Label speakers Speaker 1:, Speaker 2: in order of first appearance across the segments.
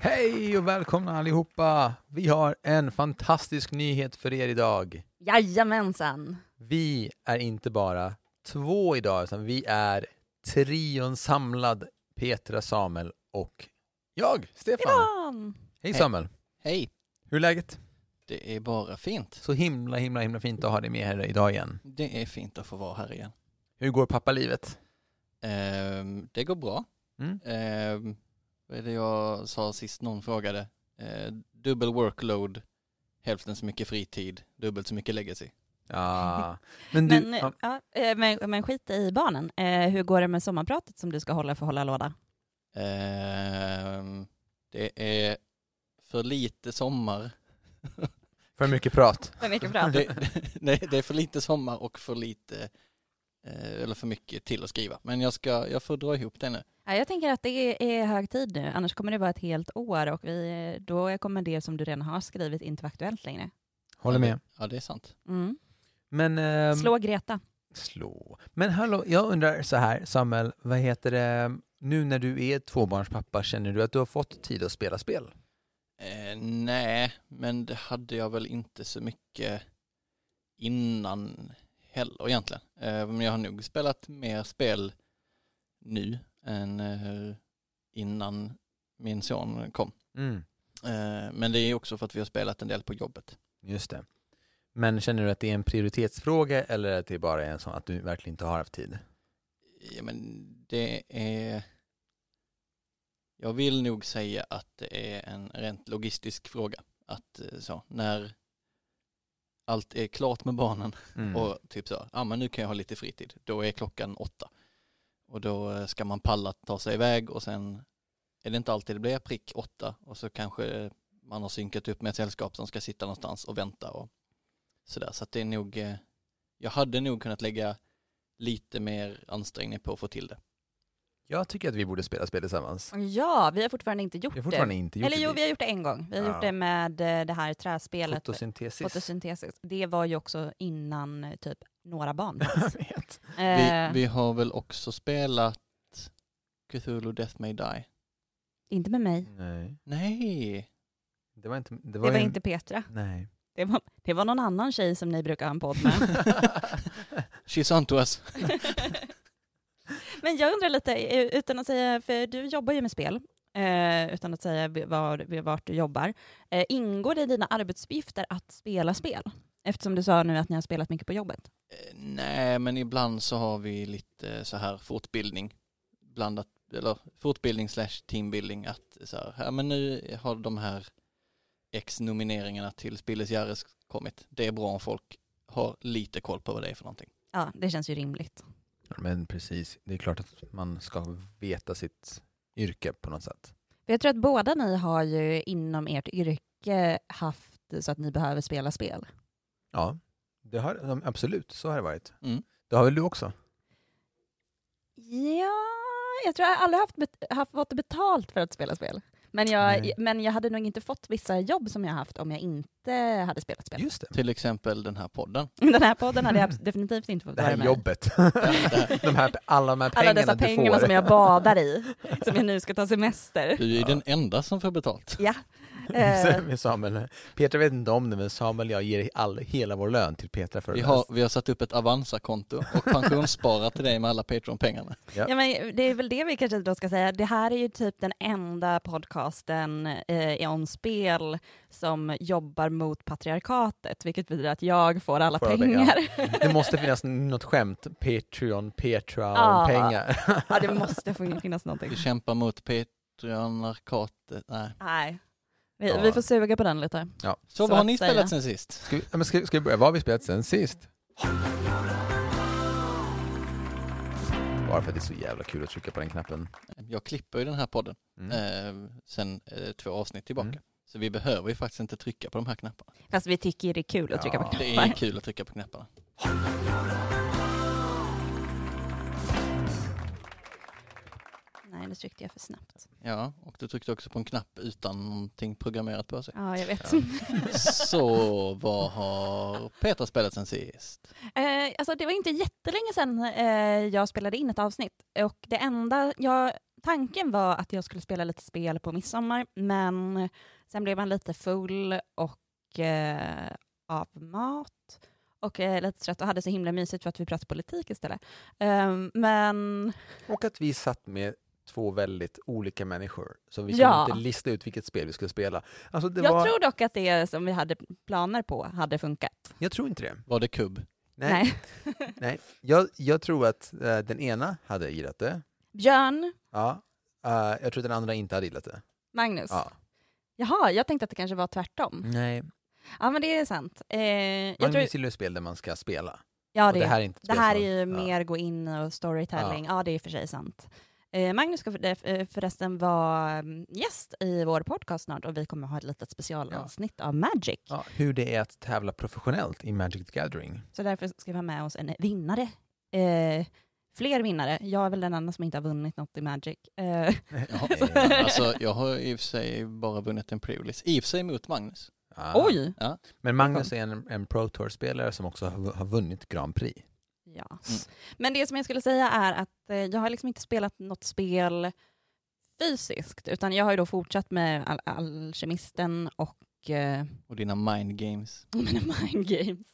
Speaker 1: Hej och välkomna allihopa! Vi har en fantastisk nyhet för er idag.
Speaker 2: Jajamensan.
Speaker 1: Vi är inte bara två idag, utan vi är trion samlad. Petra, Samuel och jag, Stefan.
Speaker 2: Ivan!
Speaker 1: Hej
Speaker 3: Hej.
Speaker 1: Samuel!
Speaker 3: Hej!
Speaker 1: Hur är läget?
Speaker 3: Det är bara fint.
Speaker 1: Så himla, himla, himla fint att ha dig med här idag igen.
Speaker 3: Det är fint att få vara här igen.
Speaker 1: Hur går pappalivet?
Speaker 3: Ehm, det går bra.
Speaker 1: Mm.
Speaker 3: Ehm, vad är det jag sa sist någon frågade? Ehm, dubbel workload, hälften så mycket fritid, dubbelt så mycket legacy.
Speaker 1: Ja, men du...
Speaker 2: Men, eh,
Speaker 1: ja,
Speaker 2: ja, eh, men, men skit i barnen. Eh, hur går det med sommarpratet som du ska hålla för hålla låda?
Speaker 3: Ehm, det är för lite sommar.
Speaker 1: för mycket prat.
Speaker 2: För mycket prat.
Speaker 3: Det, nej, det är för lite sommar och för lite, eh, eller för mycket till att skriva. Men jag, ska, jag får dra ihop det nu.
Speaker 2: Ja, jag tänker att det är hög tid nu, annars kommer det vara ett helt år och vi, då kommer det som du redan har skrivit inte vara aktuellt längre.
Speaker 1: Håller med.
Speaker 3: Ja, det är sant.
Speaker 2: Mm.
Speaker 1: Men... ehm,
Speaker 2: Slå Greta.
Speaker 1: Slå. Men hallå, jag undrar så här, Samuel, vad heter det, nu när du är tvåbarnspappa, känner du att du har fått tid att spela spel?
Speaker 3: Eh, nej, men det hade jag väl inte så mycket innan heller egentligen. Eh, men jag har nog spelat mer spel nu än eh, innan min son kom.
Speaker 1: Mm.
Speaker 3: Eh, men det är också för att vi har spelat en del på jobbet.
Speaker 1: Just det. Men känner du att det är en prioritetsfråga eller att det bara är en sån att du verkligen inte har haft tid?
Speaker 3: Ja, men det är... Jag vill nog säga att det är en rent logistisk fråga. Att eh, så, när allt är klart med barnen
Speaker 1: Mm.
Speaker 3: Och typ så, ja ah, men nu kan jag ha lite fritid. Då är klockan åtta. Och då eh, ska man palla att ta sig iväg och sen är det inte alltid det blir prick åtta och så kanske man har synkat upp med ett sällskap som ska sitta någonstans och vänta och sådär. Så att det är nog, eh, jag hade nog kunnat lägga lite mer ansträngning på att få till det.
Speaker 1: Jag tycker att vi borde spela spel tillsammans.
Speaker 2: Ja, vi har fortfarande inte gjort
Speaker 1: Jag har fortfarande inte
Speaker 2: det.
Speaker 1: gjort
Speaker 2: Eller
Speaker 1: det.
Speaker 2: jo, vi har gjort det en gång. Vi har
Speaker 1: Ja.
Speaker 2: gjort det med eh, det här träspelet.
Speaker 1: Fotosyntesis.
Speaker 2: Fotosyntesis. Det var ju också innan eh, typ några barn.
Speaker 1: Jag vet.
Speaker 2: Eh,
Speaker 3: Vi, vi har väl också spelat Cthulhu Death May Die.
Speaker 2: Inte med mig.
Speaker 1: Nej,
Speaker 3: Nej,
Speaker 1: det var inte... Det
Speaker 2: Det
Speaker 1: var,
Speaker 2: var,
Speaker 1: ju-
Speaker 2: inte Petra.
Speaker 1: Nej.
Speaker 2: Det var, det var någon annan tjej som ni brukar ha en podd med.
Speaker 3: she's on to us.
Speaker 2: Men jag undrar lite, eh, utan att säga, för du jobbar ju med spel, eh, utan att säga v- var, vart du jobbar. Eh, ingår det i dina arbetsuppgifter att spela spel? Eftersom du sa nu att ni har spelat mycket på jobbet.
Speaker 3: Eh, Nej, men ibland så har vi lite så här fortbildning. Blandat, eller fortbildning slash teambuilding. Att så här, ja men nu har de här X nomineringarna till Spilles Järres kommit. Det är bra om folk har lite koll på vad det är för någonting.
Speaker 2: Ja, det känns ju rimligt.
Speaker 1: Men precis, det är klart att man ska veta sitt yrke på något sätt.
Speaker 2: För jag tror att båda ni har ju inom ert yrke haft så att ni behöver spela spel.
Speaker 1: Ja, det har, absolut. Så har det varit.
Speaker 3: Mm.
Speaker 1: Det har väl du också?
Speaker 2: Ja, jag tror jag aldrig haft, bet- haft fått betalt för att spela spel. Men jag,
Speaker 1: Nej.
Speaker 2: men jag hade nog inte fått vissa jobb som jag haft om jag inte hade spelat spel.
Speaker 1: Just det.
Speaker 3: Till exempel den här podden.
Speaker 2: Den här podden hade jag abs- definitivt inte fått
Speaker 1: Det
Speaker 2: vara
Speaker 1: här
Speaker 2: med
Speaker 1: jobbet. de här, alla de här pengarna
Speaker 2: Alla dessa
Speaker 1: du
Speaker 2: pengarna
Speaker 1: får.
Speaker 2: som jag badar i, som jag nu ska ta semester.
Speaker 3: Du är
Speaker 1: Ja.
Speaker 3: den enda som får betalt.
Speaker 2: Ja. Eh,
Speaker 1: Med Samuel. Petra vet inte om det, men Samuel och jag ger all, hela vår lön till Petra för
Speaker 3: Vi
Speaker 1: det.
Speaker 3: har, vi har satt upp ett Avanza-konto och pensionssparat till dig med alla Patreon-pengarna.
Speaker 2: ja, men det är väl det vi kanske då ska säga. Det här är ju typ den enda podcasten eh, om spel som jobbar mot patriarkatet, vilket betyder att jag får alla
Speaker 1: Får alla
Speaker 2: pengar.
Speaker 1: Det måste finnas något skämt. Patreon, Petra,
Speaker 2: Ja.
Speaker 1: pengar.
Speaker 2: ja, det måste fin- finnas någonting.
Speaker 3: Vi kämpar mot Patreon-narkatet. Nej.
Speaker 2: Nej. Vi,
Speaker 1: Ja.
Speaker 2: vi får suga på den lite.
Speaker 3: Så,
Speaker 2: Så
Speaker 3: vad har
Speaker 2: att
Speaker 3: ni
Speaker 2: säga.
Speaker 3: spelat sen sist?
Speaker 1: Ska vi, ja, men ska, ska vi börja? Vad har vi spelat sen sist? Bara för att det är så jävla kul att trycka på den knappen.
Speaker 3: Jag klipper ju den här podden
Speaker 1: Mm.
Speaker 3: Ehm, eh, sen eh, två avsnitt tillbaka.
Speaker 1: Mm.
Speaker 3: Så vi behöver ju faktiskt inte trycka på de här knapparna.
Speaker 2: Fast vi tycker det är kul att trycka på
Speaker 1: Ja,
Speaker 3: Det
Speaker 2: knappar.
Speaker 3: är kul att trycka på knapparna.
Speaker 2: Nej, nu tryckte jag för snabbt.
Speaker 3: Ja, och du tryckte också på en knapp utan någonting programmerat på sig.
Speaker 2: Ja, jag vet.
Speaker 3: Ja. Så vad har Petra spelat sen sist?
Speaker 2: Eh, alltså det var inte jättelänge sedan eh, jag spelade in ett avsnitt och det enda jag, tanken var att jag skulle spela lite spel på midsommar men sen blev man lite full och eh, av mat och eh, lite trött och hade så himla mysigt för att vi pratade politik istället. Eh, men
Speaker 1: Och att vi satt med två väldigt olika människor. Så vi
Speaker 2: Ja.
Speaker 1: kunde inte lista ut vilket spel vi skulle spela. Alltså det
Speaker 2: jag
Speaker 1: var...
Speaker 2: tror dock att det som vi hade planer på hade funkat.
Speaker 1: Jag tror inte det.
Speaker 3: Var det kubb?
Speaker 1: Nej. Nej. Jag, jag tror att eh, den ena hade gillat det.
Speaker 2: Björn,
Speaker 1: Ja. Eh, jag tror att den andra inte hade gillat det.
Speaker 2: Magnus.
Speaker 1: Ja. Mm.
Speaker 2: Jaha, jag tänkte att det kanske var tvärtom.
Speaker 1: Nej.
Speaker 2: Ja men det är sant. Eh, jag
Speaker 1: Man
Speaker 2: tror-
Speaker 1: gillar ju spel där man ska spela.
Speaker 2: ja,
Speaker 1: Och det här är inte ett
Speaker 2: Det
Speaker 1: spel
Speaker 2: här
Speaker 1: som-
Speaker 2: är ju
Speaker 1: ja.
Speaker 2: mer gå in och storytelling. Ja, det är i och för sig sant. Eh, Magnus ska för- eh, förresten vara mm, gäst i vår podcast snart och vi kommer ha ett litet specialavsnitt av Magic.
Speaker 1: Ja, hur det är att tävla professionellt i Magic the Gathering.
Speaker 2: Så därför ska vi ha med oss en vinnare. Eh, fler vinnare. Jag är väl den enda som inte har vunnit något i Magic. Eh,
Speaker 3: Ja.
Speaker 1: Eh,
Speaker 3: Alltså jag har i och för sig bara vunnit en pre-release. I och för sig mot Magnus.
Speaker 1: ja.
Speaker 2: Oj!
Speaker 1: Men Magnus är en, en Pro Tour-spelare som också har, har vunnit Grand Prix.
Speaker 2: Ja. Mm. Men det som jag skulle säga är att eh, jag har liksom inte spelat något spel fysiskt utan jag har ju då fortsatt med Al- Alkemisten och eh,
Speaker 3: Och dina mind games.
Speaker 2: mina mind games.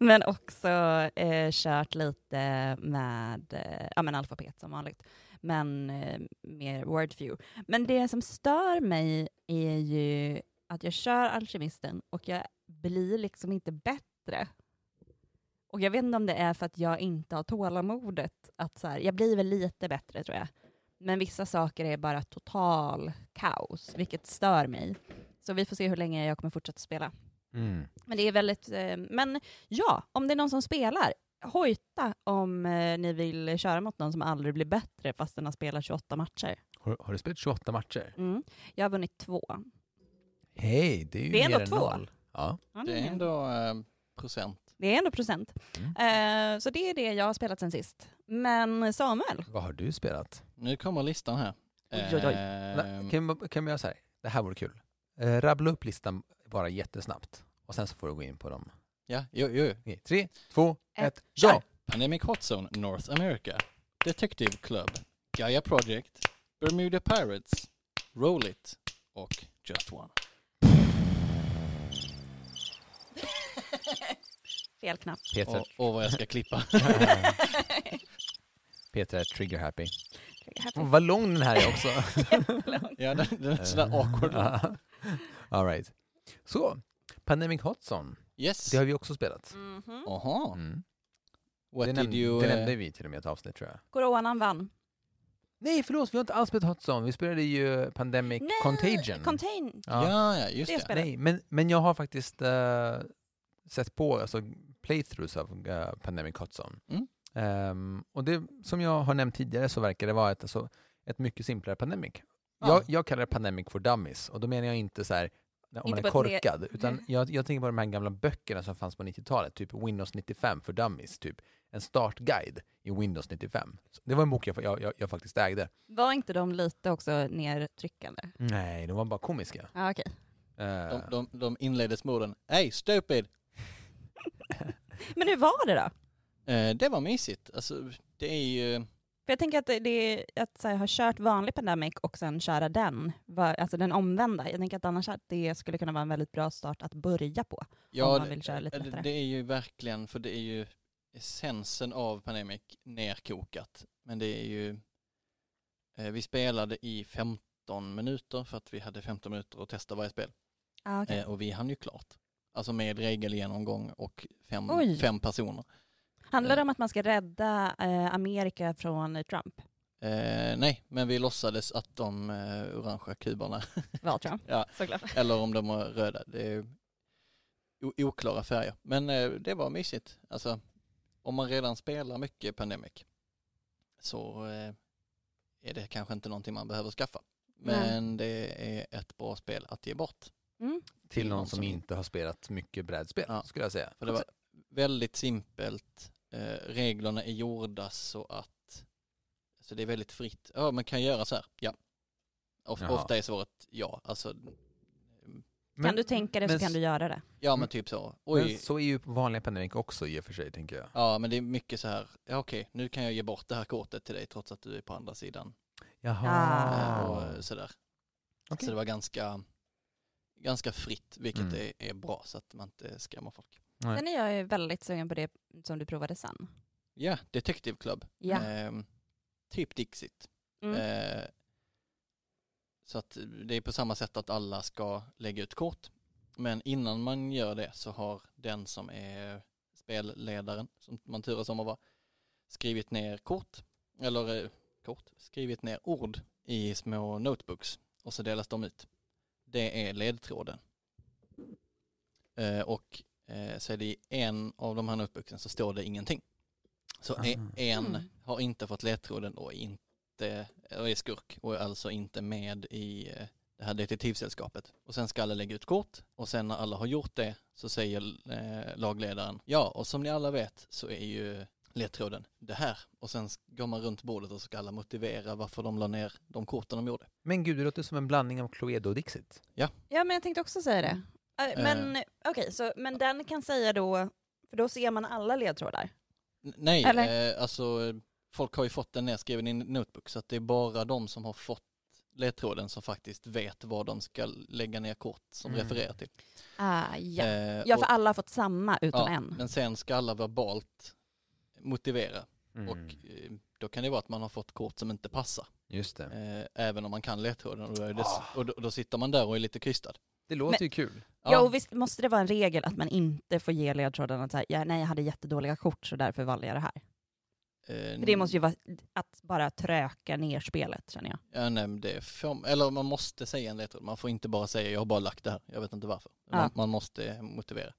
Speaker 2: men också eh, kört lite med eh, ja, men alfabet som vanligt. Men eh, mer wordview. Men det som stör mig är ju att jag kör alkemisten och jag blir liksom inte bättre. Och jag vet inte om det är för att jag inte har tålamodet. Att så här, jag blir väl lite bättre tror jag. Men vissa saker är bara total kaos, vilket stör mig. Så vi får se hur länge jag kommer fortsätta spela.
Speaker 1: Mm.
Speaker 2: Men det är väldigt... Eh, men ja, om det är någon som spelar, hojta om eh, ni vill köra mot någon som aldrig blir bättre fast den har spelat 28 matcher.
Speaker 1: Har, har du spelat 28 matcher?
Speaker 2: Mm. Jag har vunnit två.
Speaker 1: Hej, det är ju
Speaker 2: Det är
Speaker 1: mer
Speaker 2: ändå
Speaker 1: än
Speaker 2: två.
Speaker 1: noll. Ja.
Speaker 2: Ja,
Speaker 3: Det är ändå Mm. eh, procent.
Speaker 2: det är ändå procent. Eh, så det är det jag har spelat sen sist. Men Samuel,
Speaker 1: Vad har du spelat?
Speaker 3: Nu kommer listan här.
Speaker 2: Oj, oj, oj.
Speaker 3: Ehm,
Speaker 1: Kan, vi- kan vi göra så här? Det här vore kul. Eh, rabbla upp listan bara jättesnabbt. Och sen så får du gå in på dem.
Speaker 3: Ja, jo, jo.
Speaker 1: Okej, Tre, två, ett,
Speaker 2: kör!
Speaker 1: ja!
Speaker 3: Pandemic Hot Zone North America, Detective Club, Gaia Project, Bermuda Pirates, Roll It och Just One.
Speaker 2: fel knapp.
Speaker 1: Petra,
Speaker 3: Och, och vad jag ska klippa.
Speaker 1: Petra är trigger happy.
Speaker 2: Här får
Speaker 1: Oh, vad lång den här är också.
Speaker 2: jag långt.
Speaker 3: ja, den, den är sådär awkward.
Speaker 1: Ja. All right. Så, Pandemic Hot Zone.
Speaker 3: Yes.
Speaker 1: Det har vi också spelat.
Speaker 2: Mhm.
Speaker 3: Aha.
Speaker 1: Mm.
Speaker 3: What
Speaker 1: det
Speaker 3: did
Speaker 1: nämnde,
Speaker 3: you...
Speaker 1: det
Speaker 3: eh,
Speaker 1: nämnde vi till och med i ett avsnitt tror jag.
Speaker 2: Coronan vann.
Speaker 1: Nej förlåt, vi har inte alls spelat Hot Zone. Vi spelade ju
Speaker 3: Eh,
Speaker 1: Pandemic
Speaker 2: Nej,
Speaker 1: Contagion.
Speaker 2: Contain.
Speaker 1: ja.
Speaker 3: Ja, ja, just
Speaker 2: Det
Speaker 3: det.
Speaker 2: spelar-
Speaker 1: Nej, men, men jag har faktiskt eh, sett på alltså, playthroughs av eh, Pandemic Hot Zone.
Speaker 3: Mm.
Speaker 1: Ehm, och det som jag har nämnt tidigare så verkar det vara ett, alltså, ett mycket simplare Pandemic.
Speaker 3: Ja.
Speaker 1: Jag, jag kallar det Pandemic for Dummies och då menar jag inte så här om
Speaker 2: Inte
Speaker 1: man är
Speaker 2: på ett mer-
Speaker 1: korkad, utan jag, jag tänker på de här gamla böckerna som fanns på 90-talet, typ Windows 95 för Dummies, typ en startguide i Windows 95. Så det var en bok jag, jag, jag, jag faktiskt ägde.
Speaker 2: Var inte de lite också nedtryckande?
Speaker 1: Nej, de var bara komiska.
Speaker 2: Ja, okej.
Speaker 1: Eh,
Speaker 3: Mm. De, de, de inleddes med orden Hey stupid!
Speaker 2: Men hur var det då?
Speaker 3: Eh, det var mysigt. Alltså, det är ju...
Speaker 2: För jag tänker att det- det är att så här, ha kört vanlig Pandemic och sen köra den, va- alltså den omvända. Jag tänker att annars att det skulle kunna vara en väldigt bra start att börja på.
Speaker 3: Ja,
Speaker 2: man vill köra lite
Speaker 3: eh, det,
Speaker 2: lättare.
Speaker 3: det är ju verkligen, för det är ju essensen av Pandemic nerkokat. Men det är ju, eh, vi spelade i 15 minuter för att vi hade 15 minuter att testa varje spel.
Speaker 2: Ah,
Speaker 3: Eh, och vi hann ju klart. Alltså med regelgenomgång och fem,
Speaker 2: Oj.
Speaker 3: fem personer.
Speaker 2: Handlar det om att man ska rädda eh, Amerika från Trump?
Speaker 3: Eh, nej, men vi låtsades att de eh, orangea kuberna,
Speaker 2: Var Trump?
Speaker 3: Ja.
Speaker 2: Såklart.
Speaker 3: eller om de var röda, det är ju o- oklara färger. Men eh, det var mysigt. Alltså, om man redan spelar mycket Pandemic så eh, är det kanske inte någonting man behöver skaffa. Men det är ett bra spel att ge bort.
Speaker 2: Mm.
Speaker 1: Till någon som inte har spelat mycket brädspel
Speaker 3: Ja.
Speaker 1: skulle jag säga.
Speaker 3: För det var väldigt simpelt. Eh, reglerna är gjorda så att så det är väldigt fritt. Ja, man kan göra så här. Ja. Of,
Speaker 1: Jaha.
Speaker 3: ofta är svaret ja. Alltså,
Speaker 2: kan du tänka det så
Speaker 1: men-
Speaker 2: kan du göra det.
Speaker 3: ja men typ så. Oj.
Speaker 1: Men så är ju vanliga Pandemic också i och för sig tänker jag.
Speaker 3: Ja men det är mycket så här. Ja, okej, nu kan jag ge bort det här kortet till dig trots att du är på andra sidan.
Speaker 1: Jaha.
Speaker 3: Eh,
Speaker 2: Ah.
Speaker 3: Och eh, sådär.
Speaker 1: Okej.
Speaker 3: Så det var ganska, ganska fritt, vilket
Speaker 1: Mm.
Speaker 3: är, är bra så att man inte skrämmer folk.
Speaker 1: Nej.
Speaker 2: Sen är jag ju väldigt sugen på det som du provade sen.
Speaker 3: Ja, Detective Club.
Speaker 2: Ja.
Speaker 3: Ehm, typ Dixit.
Speaker 2: Mm.
Speaker 3: Eh, så att det är på samma sätt att alla ska lägga ut kort. Men innan man gör det så har den som är spelledaren, som man turas om att vara, skrivit ner kort, eller eh, kort, skrivit ner ord i små notebooks och så delas de ut. Det är ledtråden. Eh, och eh, så är det i en av de här notebooksen så står det ingenting. Så e-
Speaker 1: Ah.
Speaker 3: en
Speaker 2: Mm.
Speaker 3: har inte fått ledtråden och inte, och är skurk och är alltså inte med i eh, det här detektivsällskapet. Och sen ska alla lägga ut kort och sen när alla har gjort det så säger eh, lagledaren ja och som ni alla vet så är ju ledtråden det här och sen s- går man runt bordet och så ska alla motivera varför de la ner de korten de gjorde.
Speaker 1: Men gud, det låter som en blandning av Cluedo och Dixit.
Speaker 2: Ja, men jag tänkte också säga det. Eh, Men okej, så men den kan säga då, för då ser man alla ledtrådar.
Speaker 3: N- nej,
Speaker 2: Eller?
Speaker 3: eh, alltså eh, folk har ju fått den nedskriven i en notebook så att det är bara de som har fått ledtråden som faktiskt vet vad de ska lägga ner kort som
Speaker 1: Mm.
Speaker 3: refererar till.
Speaker 2: Ah, ja.
Speaker 3: Eh,
Speaker 2: ja,
Speaker 3: och-
Speaker 2: för alla har fått samma utom
Speaker 3: Ja,
Speaker 2: en.
Speaker 3: Men sen ska alla verbalt motivera
Speaker 1: Mm.
Speaker 3: och eh, då kan det vara att man har fått kort som inte passar.
Speaker 1: Just det.
Speaker 3: Eh, även om man kan ledtråden och, då, är det,
Speaker 1: Ah.
Speaker 3: och då, då sitter man där och är lite krystad.
Speaker 1: Det låter
Speaker 2: Men-
Speaker 1: ju kul.
Speaker 2: Ja, och visst måste det vara en regel att man inte får ge ledtråden att så här, ja, nej, jag hade jättedåliga kort så därför valde jag det här.
Speaker 3: eh,
Speaker 2: För det måste ju vara att bara tröka ner spelet känner jag.
Speaker 3: ja, nej, men det får, eller man måste säga en ledtråd, man får inte bara säga jag har bara lagt det här, jag vet inte varför. Man,
Speaker 2: Ja.
Speaker 3: man måste motivera.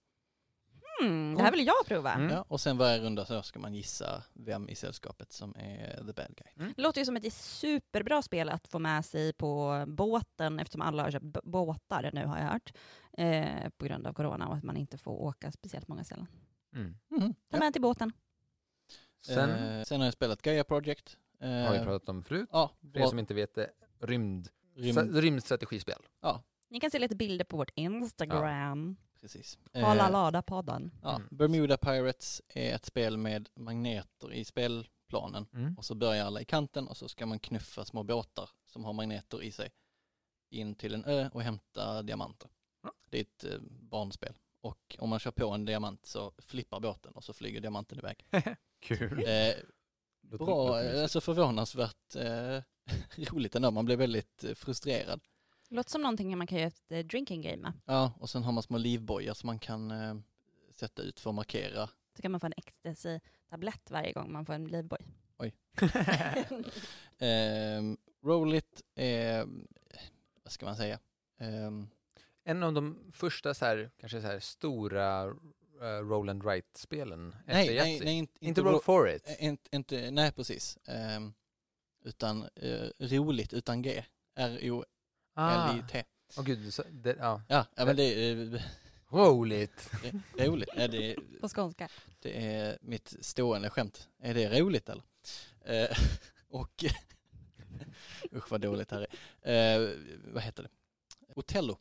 Speaker 2: Hmm, det här vill jag prova.
Speaker 1: Mm.
Speaker 3: Ja, och sen varje runda så ska man gissa vem i sällskapet som är the bad guy.
Speaker 2: Det låter ju som ett superbra spel att få med sig på båten eftersom alla har köpt b- båtar nu har jag hört. Eh, på grund av corona och att man inte får åka speciellt många ställen.
Speaker 1: Mm.
Speaker 3: Mhm,
Speaker 2: Ta
Speaker 3: ja.
Speaker 2: med till båten.
Speaker 1: Sen
Speaker 3: eh, sen har jag spelat Gaia Project. Eh,
Speaker 1: har vi pratat om förut,
Speaker 3: ja,
Speaker 1: för er
Speaker 3: bra,
Speaker 1: som inte vet det, rymd,
Speaker 3: rymd,
Speaker 1: sa- rymdstrategispel.
Speaker 2: Ni kan se lite bilder på vårt Instagram.
Speaker 3: precis. Eh,
Speaker 2: Halalada-podden.
Speaker 3: Ja,
Speaker 1: Mm.
Speaker 3: Bermuda Pirates är ett spel med magneter i spelplanen
Speaker 1: Mm.
Speaker 3: och så börjar alla i kanten och så ska man knuffa små båtar som har magneter i sig in till en ö och hämta diamanter.
Speaker 1: Ja.
Speaker 3: Det är ett eh, barnspel och om man kör på en diamant så flippar båten och så flyger diamanten iväg.
Speaker 1: Kul.
Speaker 3: Eh,
Speaker 1: Låter-
Speaker 3: bra,
Speaker 1: låter
Speaker 3: eh,
Speaker 1: mysigt.
Speaker 3: alltså förvånansvärt eh, roligt ändå, man blir väldigt eh, frustrerad.
Speaker 2: Låter som någonting man kan göra ett eh, drinking game med.
Speaker 3: Ja, och sen har man små livbojar som man kan eh, sätta ut för att markera.
Speaker 2: Så kan man få en ecstasy-tablett varje gång man får en livboj.
Speaker 3: Eh, Um, Roll it är, vad ska man säga, Ehm,
Speaker 1: en av de första så här, kanske så här stora eh, Roland Wright-spelen efter
Speaker 3: nej, nej,
Speaker 1: Yatzy.
Speaker 3: nej, inte,
Speaker 1: Inte Roll for it.
Speaker 3: eh, inte, inte, nej precis, Ehm, utan eh, roligt utan G, R-O-L-I-T.
Speaker 1: Ah. Åh gud, du sa- det, ja.
Speaker 3: Ja, ja, men det är eh,
Speaker 1: Roligt.
Speaker 3: roligt, ja, det, är-
Speaker 2: På skånska.
Speaker 3: det är mitt stående skämt. Är det roligt eller? Eh, och, usch vad dåligt det här är. Eh, vad heter det? Otello,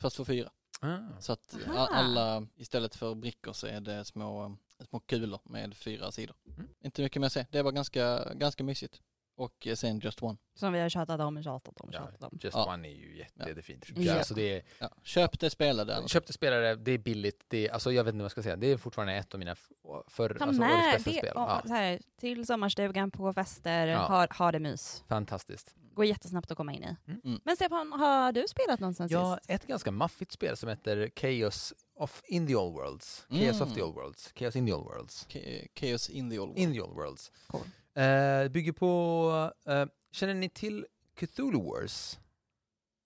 Speaker 3: fast för fyra.
Speaker 1: Ah.
Speaker 3: Så att a-
Speaker 2: Aha.
Speaker 3: alla, istället för brickor så är det små, små kulor med fyra sidor.
Speaker 1: Mm.
Speaker 3: Inte mycket mer att säga, det var ganska, ganska mysigt. Och eh, sen Just One.
Speaker 2: Som vi har tjatat om och tjatat om och
Speaker 1: Ja.
Speaker 2: tjatat om.
Speaker 1: Just
Speaker 3: Ja.
Speaker 1: One är ju jätte,
Speaker 3: Ja.
Speaker 1: jättefint.
Speaker 2: Ja.
Speaker 1: Alltså det är,
Speaker 3: Ja. Köp det, spela det. annars.
Speaker 1: köpte spelare, det är billigt, det är, alltså jag vet inte vad jag ska säga, det är fortfarande ett av mina f- förr,
Speaker 2: Ta
Speaker 1: alltså årets
Speaker 2: med
Speaker 1: bästa
Speaker 2: det
Speaker 1: spel.
Speaker 2: och,
Speaker 1: Ja,
Speaker 2: så här, till sommarstugan, på fester,
Speaker 1: Ja.
Speaker 2: ha, ha det mys.
Speaker 1: fantastiskt.
Speaker 2: Går jättesnabbt att komma in i.
Speaker 1: Mm.
Speaker 3: Mm.
Speaker 2: Men Stefan, har du spelat någon sen
Speaker 1: Ja,
Speaker 2: sist?
Speaker 1: ett ganska maffigt spel som heter Chaos of in the Old Worlds. Chaos of the
Speaker 3: Mm.
Speaker 1: Old Worlds. Chaos in the Old Worlds.
Speaker 3: K- Chaos in the old world.
Speaker 1: In the Old Worlds.
Speaker 2: Cool.
Speaker 1: Eh, bygger på, eh, känner ni till Cthulhu Wars?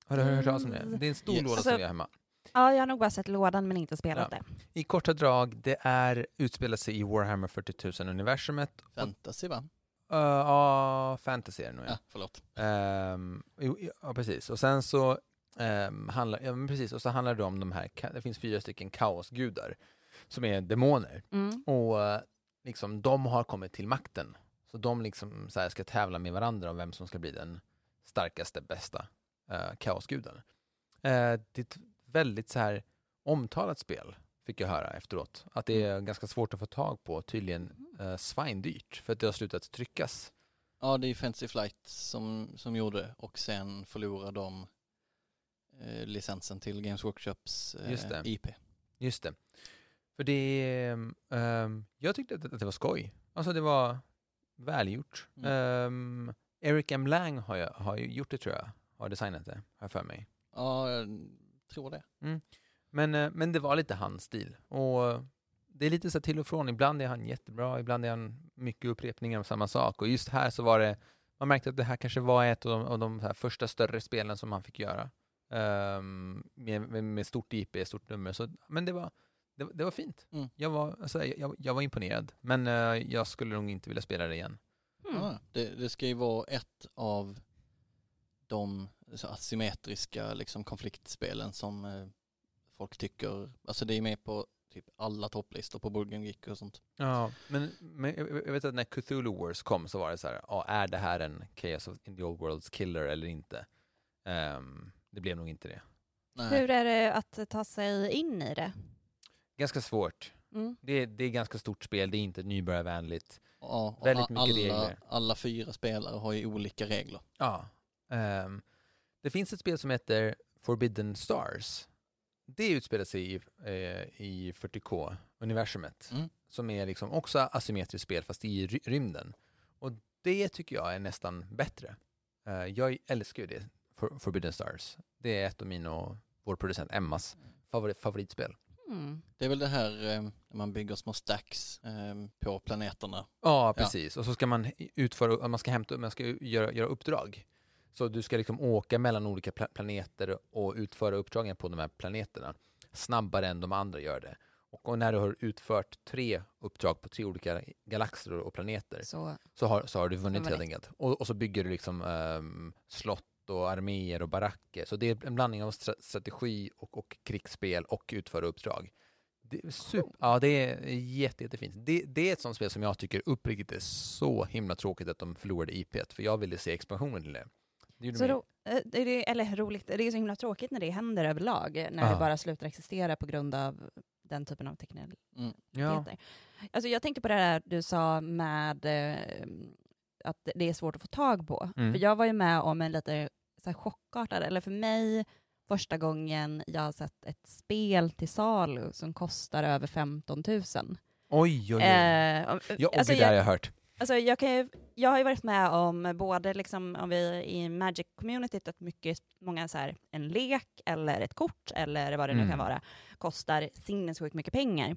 Speaker 1: Har du hört talas om det? Det är en stor
Speaker 3: Yes.
Speaker 1: låda
Speaker 2: Alltså-
Speaker 1: som vi har hemma.
Speaker 2: Ja, jag har nog bara sett lådan men inte spelat
Speaker 1: Ja.
Speaker 2: det.
Speaker 1: I korta drag, det är utspelar sig i Warhammer 40 000-universumet.
Speaker 3: Fantasy va?
Speaker 1: Eh, Ja, fantasy är det nog ja.
Speaker 3: Ja, förlåt.
Speaker 1: Ehm, jo, ja, precis. Och sen så ehm, handlar, ja, men precis, och så handlar det om de här, ka- det finns fyra stycken kaosgudar som är demoner.
Speaker 2: Mm.
Speaker 1: Och eh, liksom, de har kommit till makten. Så de liksom så här, ska tävla med varandra om vem som ska bli den starkaste, bästa eh, kaosguden. Eh, det är ett väldigt så här omtalat spel, fick jag höra efteråt. Att det är ganska svårt att få tag på, tydligen eh, svindyrt, för att det har slutat tryckas.
Speaker 3: Ja, det är ju Fantasy Flight som, som gjorde det och sen förlorade de eh, licensen till Games Workshops eh,
Speaker 1: Just det.
Speaker 3: IP.
Speaker 1: Just det. För det, ehm, ehm, jag tyckte att, att det var skoj. Alltså det var välgjort.
Speaker 3: Mm.
Speaker 1: Ehm, Eric M. Lang har, jag, har ju gjort det tror jag, har designat det, har jag för mig.
Speaker 3: Ja, jag tror det.
Speaker 1: Men, eh, men det var lite hans stil. Och det är lite så här till och från, ibland är han jättebra, ibland är han mycket upprepningar av samma sak. Och just här så var det, man märkte att det här kanske var ett av de, av de så här första större spelen som han fick göra. Ehm, med, med, med stort IP, stort nummer. Så, men det var, det, var- det var fint.
Speaker 3: Mm.
Speaker 1: Jag, var, alltså, jag, jag- jag var imponerad, men eh, jag skulle nog inte vilja spela det igen.
Speaker 2: Mm.
Speaker 1: Ah.
Speaker 3: Ja, det. Det ska ju vara ett av de så asymmetriska liksom, konfliktspelen som eh, folk tycker, alltså det är med på typ alla topplistor på Board Game Geek och sånt.
Speaker 1: Ja, men, men jag jag vet att när Cthulhu Wars kom så var det så här, ja, är det här en Chaos of in the Old Worlds killer eller inte? Ehm, det blev nog inte det.
Speaker 3: Nej.
Speaker 2: Hur är det att ta sig in i det?
Speaker 1: Ganska svårt.
Speaker 2: Mm.
Speaker 1: Det, det är ganska stort spel, det är inte nybörjarvänligt.
Speaker 3: Ja, och
Speaker 1: Väldigt
Speaker 3: a-
Speaker 1: mycket
Speaker 3: alla,
Speaker 1: regler.
Speaker 3: alla fyra spelare har ju olika regler.
Speaker 1: Ja. ehm, det finns ett spel som heter Forbidden Stars. Det utspelar sig i, eh, i 40K-universumet.
Speaker 3: Mm.
Speaker 1: Som är liksom också asymmetriskt spel fast i ry- rymden. Och det tycker jag är nästan bättre. Eh, jag älskar ju det, For, Forbidden Stars. Det är ett av mina och vår producent Emmas favori, favoritspel.
Speaker 2: Mm.
Speaker 3: Det är väl det här eh, när man bygger små stacks eh, på planeterna.
Speaker 1: Ja,
Speaker 3: Ja.
Speaker 1: precis. Och så ska man utföra, man ska hämta, man ska ju göra, göra uppdrag. Så du ska liksom åka mellan olika pla- planeter och utföra uppdragen på de här planeterna snabbare än de andra gör det. Och, och när du har utfört tre uppdrag på tre olika galaxer och och planeter
Speaker 2: Så.
Speaker 1: så har, så har du vunnit
Speaker 2: Vunnit.
Speaker 1: helt enkelt. Och, och så bygger du liksom ehm, slott och arméer och baracker. Så det är en blandning av stra- strategi och, och krigsspel och utföra uppdrag. Det är super, ja, det är jätte, jättefint. Det, det är ett sånt spel som jag tycker uppriktigt är så himla tråkigt att de förlorade IPet, för jag ville se expansionen till det. det gjorde
Speaker 2: Så
Speaker 1: mig-
Speaker 2: ro, eh, det är, det- eller roligt, det är så himla tråkigt när det händer överlag, när
Speaker 1: Ja.
Speaker 2: det bara slutar existera på grund av den typen av teknik.
Speaker 3: Mm.
Speaker 1: ja.
Speaker 2: heter. Alltså jag tänker på det där du sa med eh, att det- det är svårt att få tag på.
Speaker 1: Mm.
Speaker 2: För jag var ju med om en lite så här, chockartad, eller för mig första gången jag har sett ett spel till salu som kostar över 15 000.
Speaker 1: Oj, oj, oj.
Speaker 2: Eh, om-
Speaker 1: ja, och
Speaker 2: alltså,
Speaker 1: det där har
Speaker 2: jag,
Speaker 1: jag hört.
Speaker 2: alltså jag, kan ju, jag har ju varit med om både liksom, om vi i Magic-communityt att mycket, många så här, en lek eller ett kort eller vad det nu
Speaker 1: Mm.
Speaker 2: kan vara kostar sinnessjukt mycket pengar.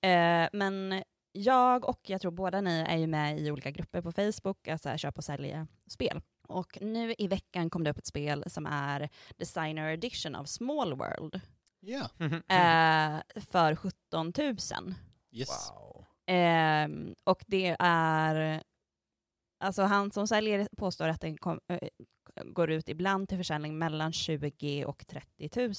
Speaker 2: Eh, men jag och jag tror båda ni är ju med i olika grupper på Facebook, alltså här, köp och sälja spel. Och nu i veckan kom det upp ett spel som är Designer Edition av Small World
Speaker 3: Ja,
Speaker 1: Mm.
Speaker 2: eh, för 17 000.
Speaker 3: yes.
Speaker 1: Wow.
Speaker 2: Ehm, och det är... Alltså han som säljer påstår att den kom, eh, går ut ibland till försäljning mellan 20 och 30 000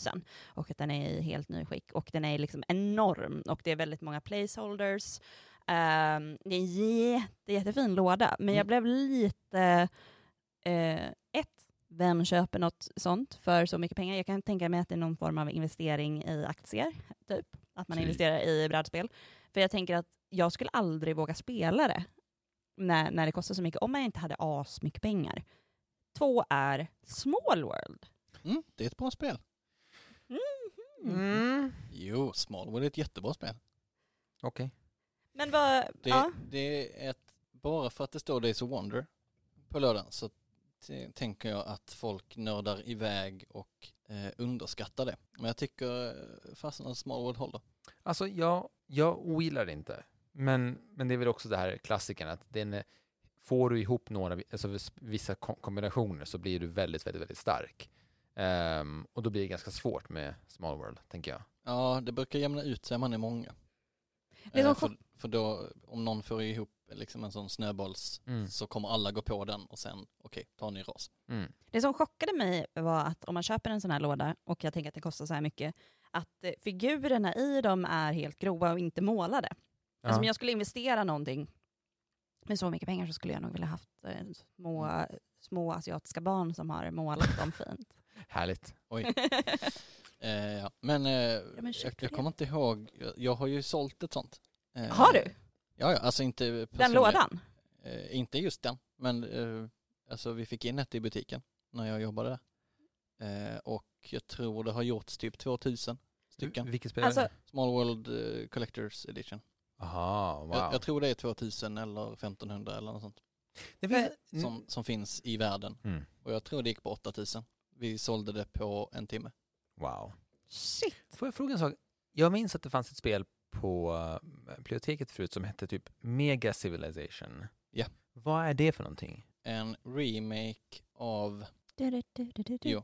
Speaker 2: och att den är i helt ny skick. Och den är liksom enorm och det är väldigt många placeholders. Ehm, det är en jätte, jättefin låda, men
Speaker 3: Mm.
Speaker 2: jag blev lite... Eh, ett, vem köper något sånt för så mycket pengar? Jag kan tänka mig att det är någon form av investering i aktier, typ. Att man
Speaker 1: Typ.
Speaker 2: investerar i brädspel. För jag tänker att jag skulle aldrig våga spela det när, när det kostar så mycket, om man inte hade as mycket pengar. Två är Small World.
Speaker 3: Mm, det är ett bra spel.
Speaker 1: Mm.
Speaker 2: Mhm.
Speaker 3: Jo, Smallwood är ett jättebra spel.
Speaker 1: Okej.
Speaker 2: Men vad...
Speaker 3: Det,
Speaker 2: Ja.
Speaker 3: det är ett, bara för att det står Days of Wonder på lördagen så t- tänker jag att folk nördar iväg och eh, underskattar det. Men jag tycker eh, fasen att Smallwood håller.
Speaker 1: Alltså jag, jag ogillar det inte. Men, men det är väl också det här klassikern att den är, får du ihop några, alltså vis- vissa ko- kombinationer så blir du väldigt, väldigt, väldigt stark. Ehm, och då blir det ganska svårt med Small World, tänker jag.
Speaker 3: Ja, det brukar jämna ut sig om man är många.
Speaker 2: Det är
Speaker 3: Eh,
Speaker 2: som
Speaker 3: för, för då, om någon får ihop liksom en sån snöbolls
Speaker 1: Mm.
Speaker 3: så kommer alla gå på den och sen, okej, ta en ny ras.
Speaker 1: Mm.
Speaker 2: Det som chockade mig var att om man köper en sån här låda och jag tänker att det kostar så här mycket, att eh, figurerna i dem är helt grova och inte målade. Alltså om jag skulle investera någonting med så mycket pengar så skulle jag nog vilja haft eh, små, små asiatiska barn som har målat dem fint.
Speaker 1: Härligt.
Speaker 3: Eh, ja. Men, eh,
Speaker 2: men
Speaker 3: jag,
Speaker 2: ursäkta
Speaker 3: jag
Speaker 2: det.
Speaker 3: kommer inte ihåg, jag, jag har ju sålt ett sånt. Eh,
Speaker 2: har du?
Speaker 3: Ja, ja, alltså inte
Speaker 2: Den
Speaker 3: personligen.
Speaker 2: lådan?
Speaker 3: Eh, inte just den, men eh, alltså vi fick in ett i butiken när jag jobbade där. Eh, och jag tror det har gjorts typ 2000 stycken.
Speaker 1: Vilket spel är
Speaker 2: Alltså,
Speaker 1: det?
Speaker 3: Small World eh, Collectors Edition.
Speaker 1: Aha, wow.
Speaker 3: Jag, jag tror det är 2000 eller 1500 eller något sånt
Speaker 1: det finns...
Speaker 3: som, som finns i världen.
Speaker 1: Mm.
Speaker 3: Och jag tror det gick på 8000. Vi sålde det på en timme.
Speaker 1: Wow.
Speaker 2: Shit!
Speaker 1: Får jag fråga en sak? Jag minns att det fanns ett spel på eh, biblioteket förut som hette typ Mega Civilization.
Speaker 3: Ja.
Speaker 1: Vad är det för någonting?
Speaker 3: En remake av
Speaker 2: Du, du, du, du, du, du.
Speaker 3: Jo.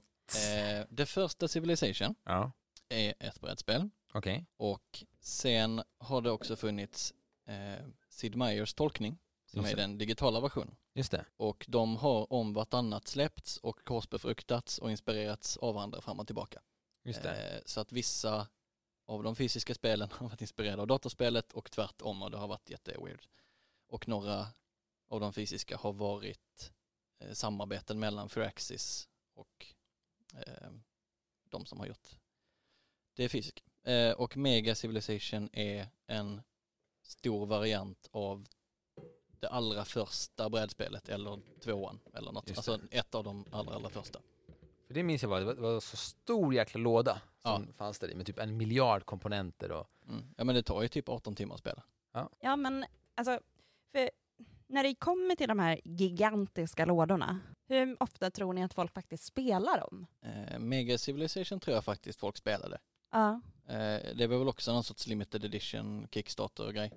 Speaker 3: eh, det första Civilization
Speaker 1: Ja.
Speaker 3: är ett brädspel
Speaker 1: Okej.
Speaker 3: och sen har det också funnits eh, Sid Meiers tolkning som
Speaker 1: Just
Speaker 3: är
Speaker 1: det.
Speaker 3: den digitala versionen.
Speaker 1: Just det.
Speaker 3: Och de har om vartannat släppts och korsbefruktats och inspirerats av varandra fram och tillbaka.
Speaker 1: Just det.
Speaker 3: Eh, så att vissa av de fysiska spelen har varit inspirerade av datorspelet och tvärtom och det har varit jätteweird. Och några av de fysiska har varit eh, samarbeten mellan Firaxis och eh, de som har gjort det fysiska. Eh, och Mega Civilization är en stor variant av det allra första brädspelet eller tvåan eller något.
Speaker 1: Just
Speaker 3: Alltså ett av de allra, allra första.
Speaker 1: För det minns jag var, det var- det var så stor jäkla låda som fanns där i med typ en miljard komponenter och...
Speaker 3: Mm. Ja men det tar ju typ 18 timmar att spela.
Speaker 2: Ja men alltså, för när det kommer till de här gigantiska lådorna, hur ofta tror ni att folk faktiskt spelar dem?
Speaker 3: Eh, Mega Civilization tror jag faktiskt folk spelade.
Speaker 2: Ja.
Speaker 3: Eh, det var väl också någon sorts limited edition Kickstarter och grej.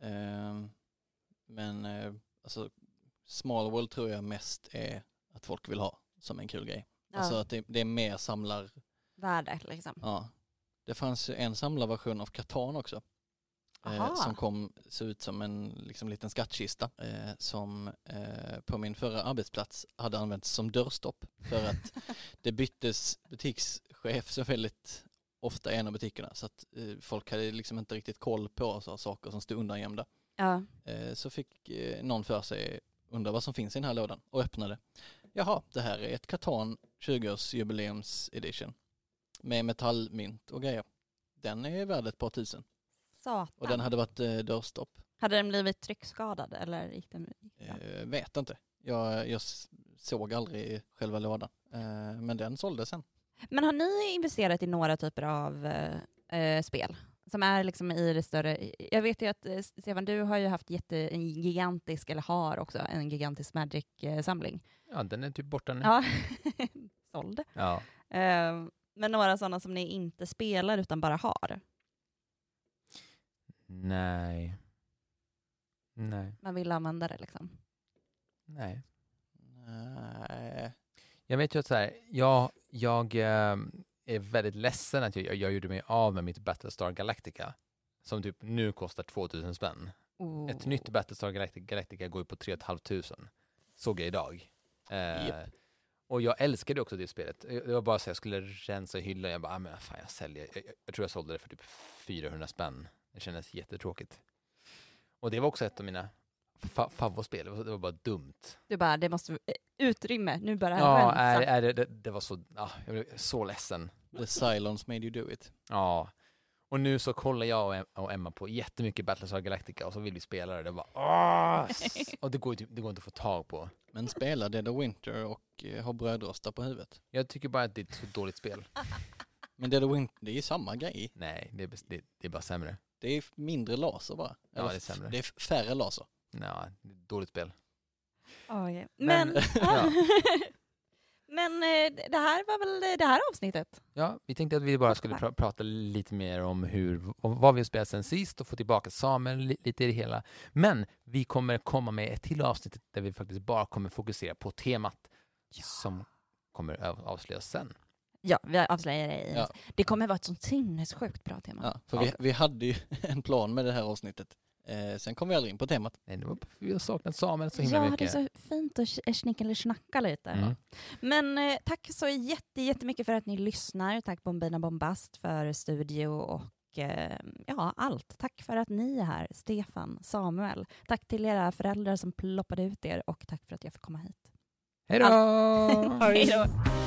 Speaker 3: Eh, men eh, alltså Small World tror jag mest är att folk vill ha som en kul grej.
Speaker 2: ja.
Speaker 3: Alltså att det, det är mer samlar,
Speaker 2: Värde liksom.
Speaker 3: ja. Det fanns ju en samlarversion av Catan också. Eh,
Speaker 2: Aha.
Speaker 3: som kom, såg ut som en liksom, liten skattkista eh, som eh, på min förra arbetsplats hade använts som dörrstopp för att det byttes butikschef så väldigt ofta i en av butikerna så att eh, folk hade liksom inte riktigt koll på så, saker som stod undangömda.
Speaker 2: Ja.
Speaker 3: Eh, så fick eh, någon för sig undra vad som finns i den här lådan och öppnade. Jaha, det här är ett Catan 20-årsjubileums edition med metallmynt och grejer. Den är värd ett par tusen
Speaker 2: Satan.
Speaker 3: och den hade varit eh, dörrstopp.
Speaker 2: Hade den blivit tryckskadad eller gick den... Ja.
Speaker 3: Eh, vet inte. Jag, jag s- såg aldrig själva lådan. Eh, men den såldes sen.
Speaker 2: Men har ni investerat i några typer av eh, eh, spel? Som är liksom i det större... Jag vet ju att eh, Stefan, du har ju haft jätte, en gigantisk, eller har också, en gigantisk Magic-samling.
Speaker 1: Ja, den är typ borta nu.
Speaker 3: Mm.
Speaker 2: Ja, såld.
Speaker 1: Ja.
Speaker 2: Eh, men några sådana som ni inte spelar utan bara har.
Speaker 1: Nej. Nej.
Speaker 2: Man vill använda det liksom.
Speaker 1: Nej.
Speaker 3: Nej.
Speaker 1: Jag vet ju att så här, jag, jag eh, är väldigt ledsen att jag, jag gjorde mig av med mitt Battlestar Galactica som typ nu kostar 2000 spänn.
Speaker 2: Oh.
Speaker 1: Ett nytt Battlestar Galactica, Galactica går ju på 3 500. Såg jag idag. Eh,
Speaker 3: Japp.
Speaker 1: Och jag älskade också det spelet. Det var bara så jag skulle rensa hyllan. Jag bara, ah, men fan jag säljer. Jag, jag, jag tror jag sålde det för typ 400 spänn. Det kändes jättetråkigt. Och det var också ett av mina fa- favoritspel. Det var- det var bara dumt.
Speaker 2: Du bara, det måste... eh, Utrymme, nu börjar
Speaker 1: Ja,
Speaker 2: rensa.
Speaker 1: är, är det, det, det var så, ah, jag blev så ledsen.
Speaker 3: The silence made you do it.
Speaker 1: Ja. Och nu så kollar jag och Em- och Emma på jättemycket Battlestar Galactica och så vill vi spela det. Det, bara, ah, s- och det, går, ju typ- det går inte att få tag på.
Speaker 3: Men spela Dead of Winter och eh, ha brödrostar på huvudet.
Speaker 1: Jag tycker bara att det är ett så dåligt spel.
Speaker 3: Men Dead of Winter, det är ju samma grej.
Speaker 1: Nej, det är, bes- det, det är bara sämre.
Speaker 3: Det är mindre laser bara.
Speaker 1: Ja,
Speaker 3: Eller
Speaker 1: det är
Speaker 3: f-
Speaker 1: sämre.
Speaker 3: Det är f- färre laser.
Speaker 1: Nja, det är ett dåligt spel.
Speaker 2: Oj.
Speaker 1: Men-
Speaker 2: Men,
Speaker 1: Ja.
Speaker 2: men eh, det här var väl det här avsnittet?
Speaker 1: Ja, vi tänkte att vi bara skulle pra- prata lite mer om hur, om vad vi har spelat sen sist och få tillbaka Samuel li- lite i det hela. Men vi kommer komma med ett till avsnitt där vi faktiskt bara kommer fokusera på temat som kommer ö- avslöjas sen.
Speaker 2: Ja, vi avslöjar det i
Speaker 3: Ja.
Speaker 2: Det kommer vara ett sånt sinnessjukt bra tema.
Speaker 3: Ja, för vi, vi hade ju en plan med det här avsnittet. Eh, sen kom vi aldrig in på temat.
Speaker 1: Nej, det var, vi har saknat Samuel så himla
Speaker 2: Ja, det är
Speaker 1: mycket.
Speaker 2: så fint att sch- snicka eller snacka lite.
Speaker 1: Mm.
Speaker 2: Men eh, tack så jätte, jättemycket för att ni lyssnar. Tack Bombina Bombast för studio och eh, ja, allt. Tack för att ni är här, Stefan, Samuel. Tack till era föräldrar som ploppade ut er och tack för att jag fick komma hit.
Speaker 1: Hej då!
Speaker 2: Hej då!